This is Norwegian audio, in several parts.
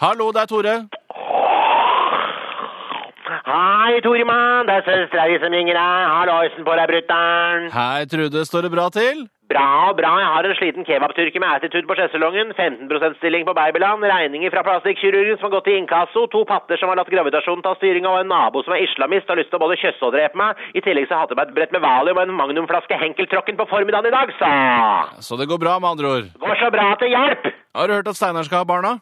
Hallo, det er Tore. Hei, Toremann. Det er søstera di som ringer deg. Halloisen på deg, brutter'n. Hei, Trude. Står det bra til? Bra, bra. Jeg har en sliten kebabturker med attitude på sjesalongen. 15 stilling på Babyland. Regninger fra plastikkirurgen som har gått i inkasso. To patter som har latt gravitasjonen ta styringa, og en nabo som er islamist og har lyst til å både kysse og drepe meg. I tillegg så hadde jeg meg et brett med valium og en magnumflaske Henkeltråkken på formiddagen i dag, sa Så det går bra, med andre ord. Går så bra til hjelp! Har du hørt at Steinar skal ha barna?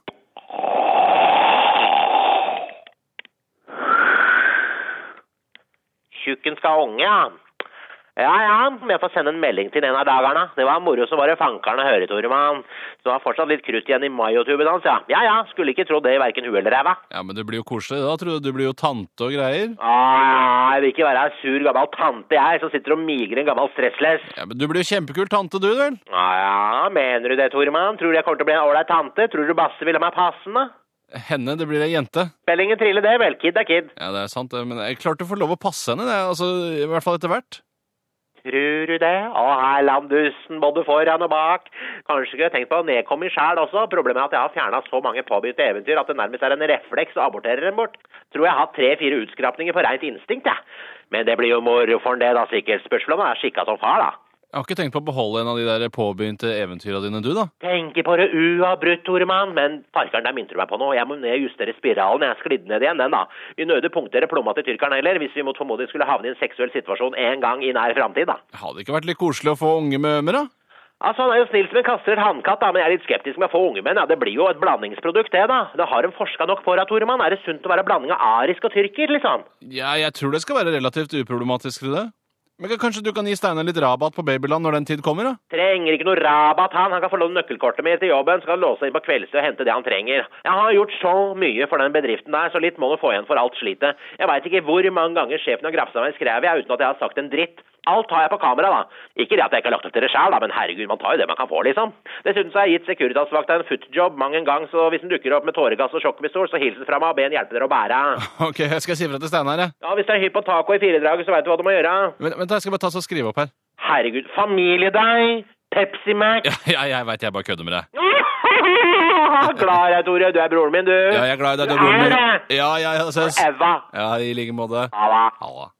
Tjukken skal ha unge, ja. Ja, ja, men jeg får sende en melding til en av dagerne. Det var moro som bare fankeren å høre, Toremann. Så det var fortsatt litt krutt igjen i mayotuben hans, ja. Ja, ja, skulle ikke tro det i hverken hu eller ræva. Ja, men det blir jo koselig da, Trude. Du blir jo tante og greier. Å, ja, jeg vil ikke være ei sur gammel tante, jeg, som sitter og migrer en gammel stressless. Ja, men Du blir jo kjempekul tante, du, vel? Ja, ja, mener du det, Toremann? Tror du jeg kommer til å bli en ålreit tante? Tror du Basse vil ha meg passende? Henne, det blir ei jente. Spiller ingen trille det, vel, kid er kid. Ja, det er sant, det. Men jeg klarte å få lov å passe henne, det. Altså, I hvert fall etter hvert. Tror du det? Å, her landussen, både foran og bak. Kanskje skulle jeg tenkt på å nedkomme sjæl også. Problemet er at jeg har fjerna så mange påbegynte eventyr at det nærmest er en refleks å abortere dem bort. Tror jeg har hatt tre-fire utskrapninger på reint instinkt, jeg. Men det blir jo moro for en det, da, sikkert. Spørsmålet om han er skikka som far, da. Jeg har ikke tenkt på å beholde en av de der påbegynte eventyra dine, du, da. Tenker på det uavbrutt, Toremann. Men farkeren der minte du meg på noe. Jeg må ned og justere spiralen. Jeg sklidde ned igjen, den, da. Vi nødig punkterer plomma til tyrkeren heller, hvis vi mot formodning skulle havne i en seksuell situasjon en gang i nær framtid, da. Hadde det ikke vært litt koselig å få unge med Ømer, da? Altså, Han er jo snill som en kastrert hannkatt, da, men jeg er litt skeptisk med å få unge menn. Ja. Det blir jo et blandingsprodukt, det, da. Det har de forska nok på, da, Toremann. Er det sunt å være blanding av arisk og tyrker, liksom? Ja, jeg tror det skal være relativt uproblematisk, Trude. Men k- kanskje du kan gi Steinar litt rabatt på Babyland når den tid kommer, da? Trenger ikke noe rabatt, han. Han kan få låne nøkkelkortet mitt til jobben, så kan han låse inn på kveldstid og hente det han trenger. Jeg har gjort så mye for den bedriften der, så litt må du få igjen for alt slitet. Jeg veit ikke hvor mange ganger sjefen har grafsa meg i skrevet jeg, uten at jeg har sagt en dritt. Alt har jeg på kamera, da. Ikke det at jeg ikke har lagt opp til det sjæl, da, men herregud, man tar jo det man kan få, liksom. Dessuten så har jeg gitt Securitas-vakta en footjob mang en gang, så hvis den dukker opp med tåregass og sjokkpistol, så hilsen fra meg og be han hjelpe dere å bære. Ok, jeg skal si fra til Steinar, jeg. Ja, hvis du er hypp på taco i firedraget, så veit du hva du må gjøre. Vent, vent da, jeg skal bare ta så skrive opp her. Herregud, familiedeig, Pepsi Max. Ja, ja, jeg veit jeg bare kødder med deg. Glad i deg, Tore. Du er broren min, du. Ja, jeg er glad i deg, du er broren Er min. Ja, ja, ja, ses. Eva. Ja, i like måte. Ha det. Halla.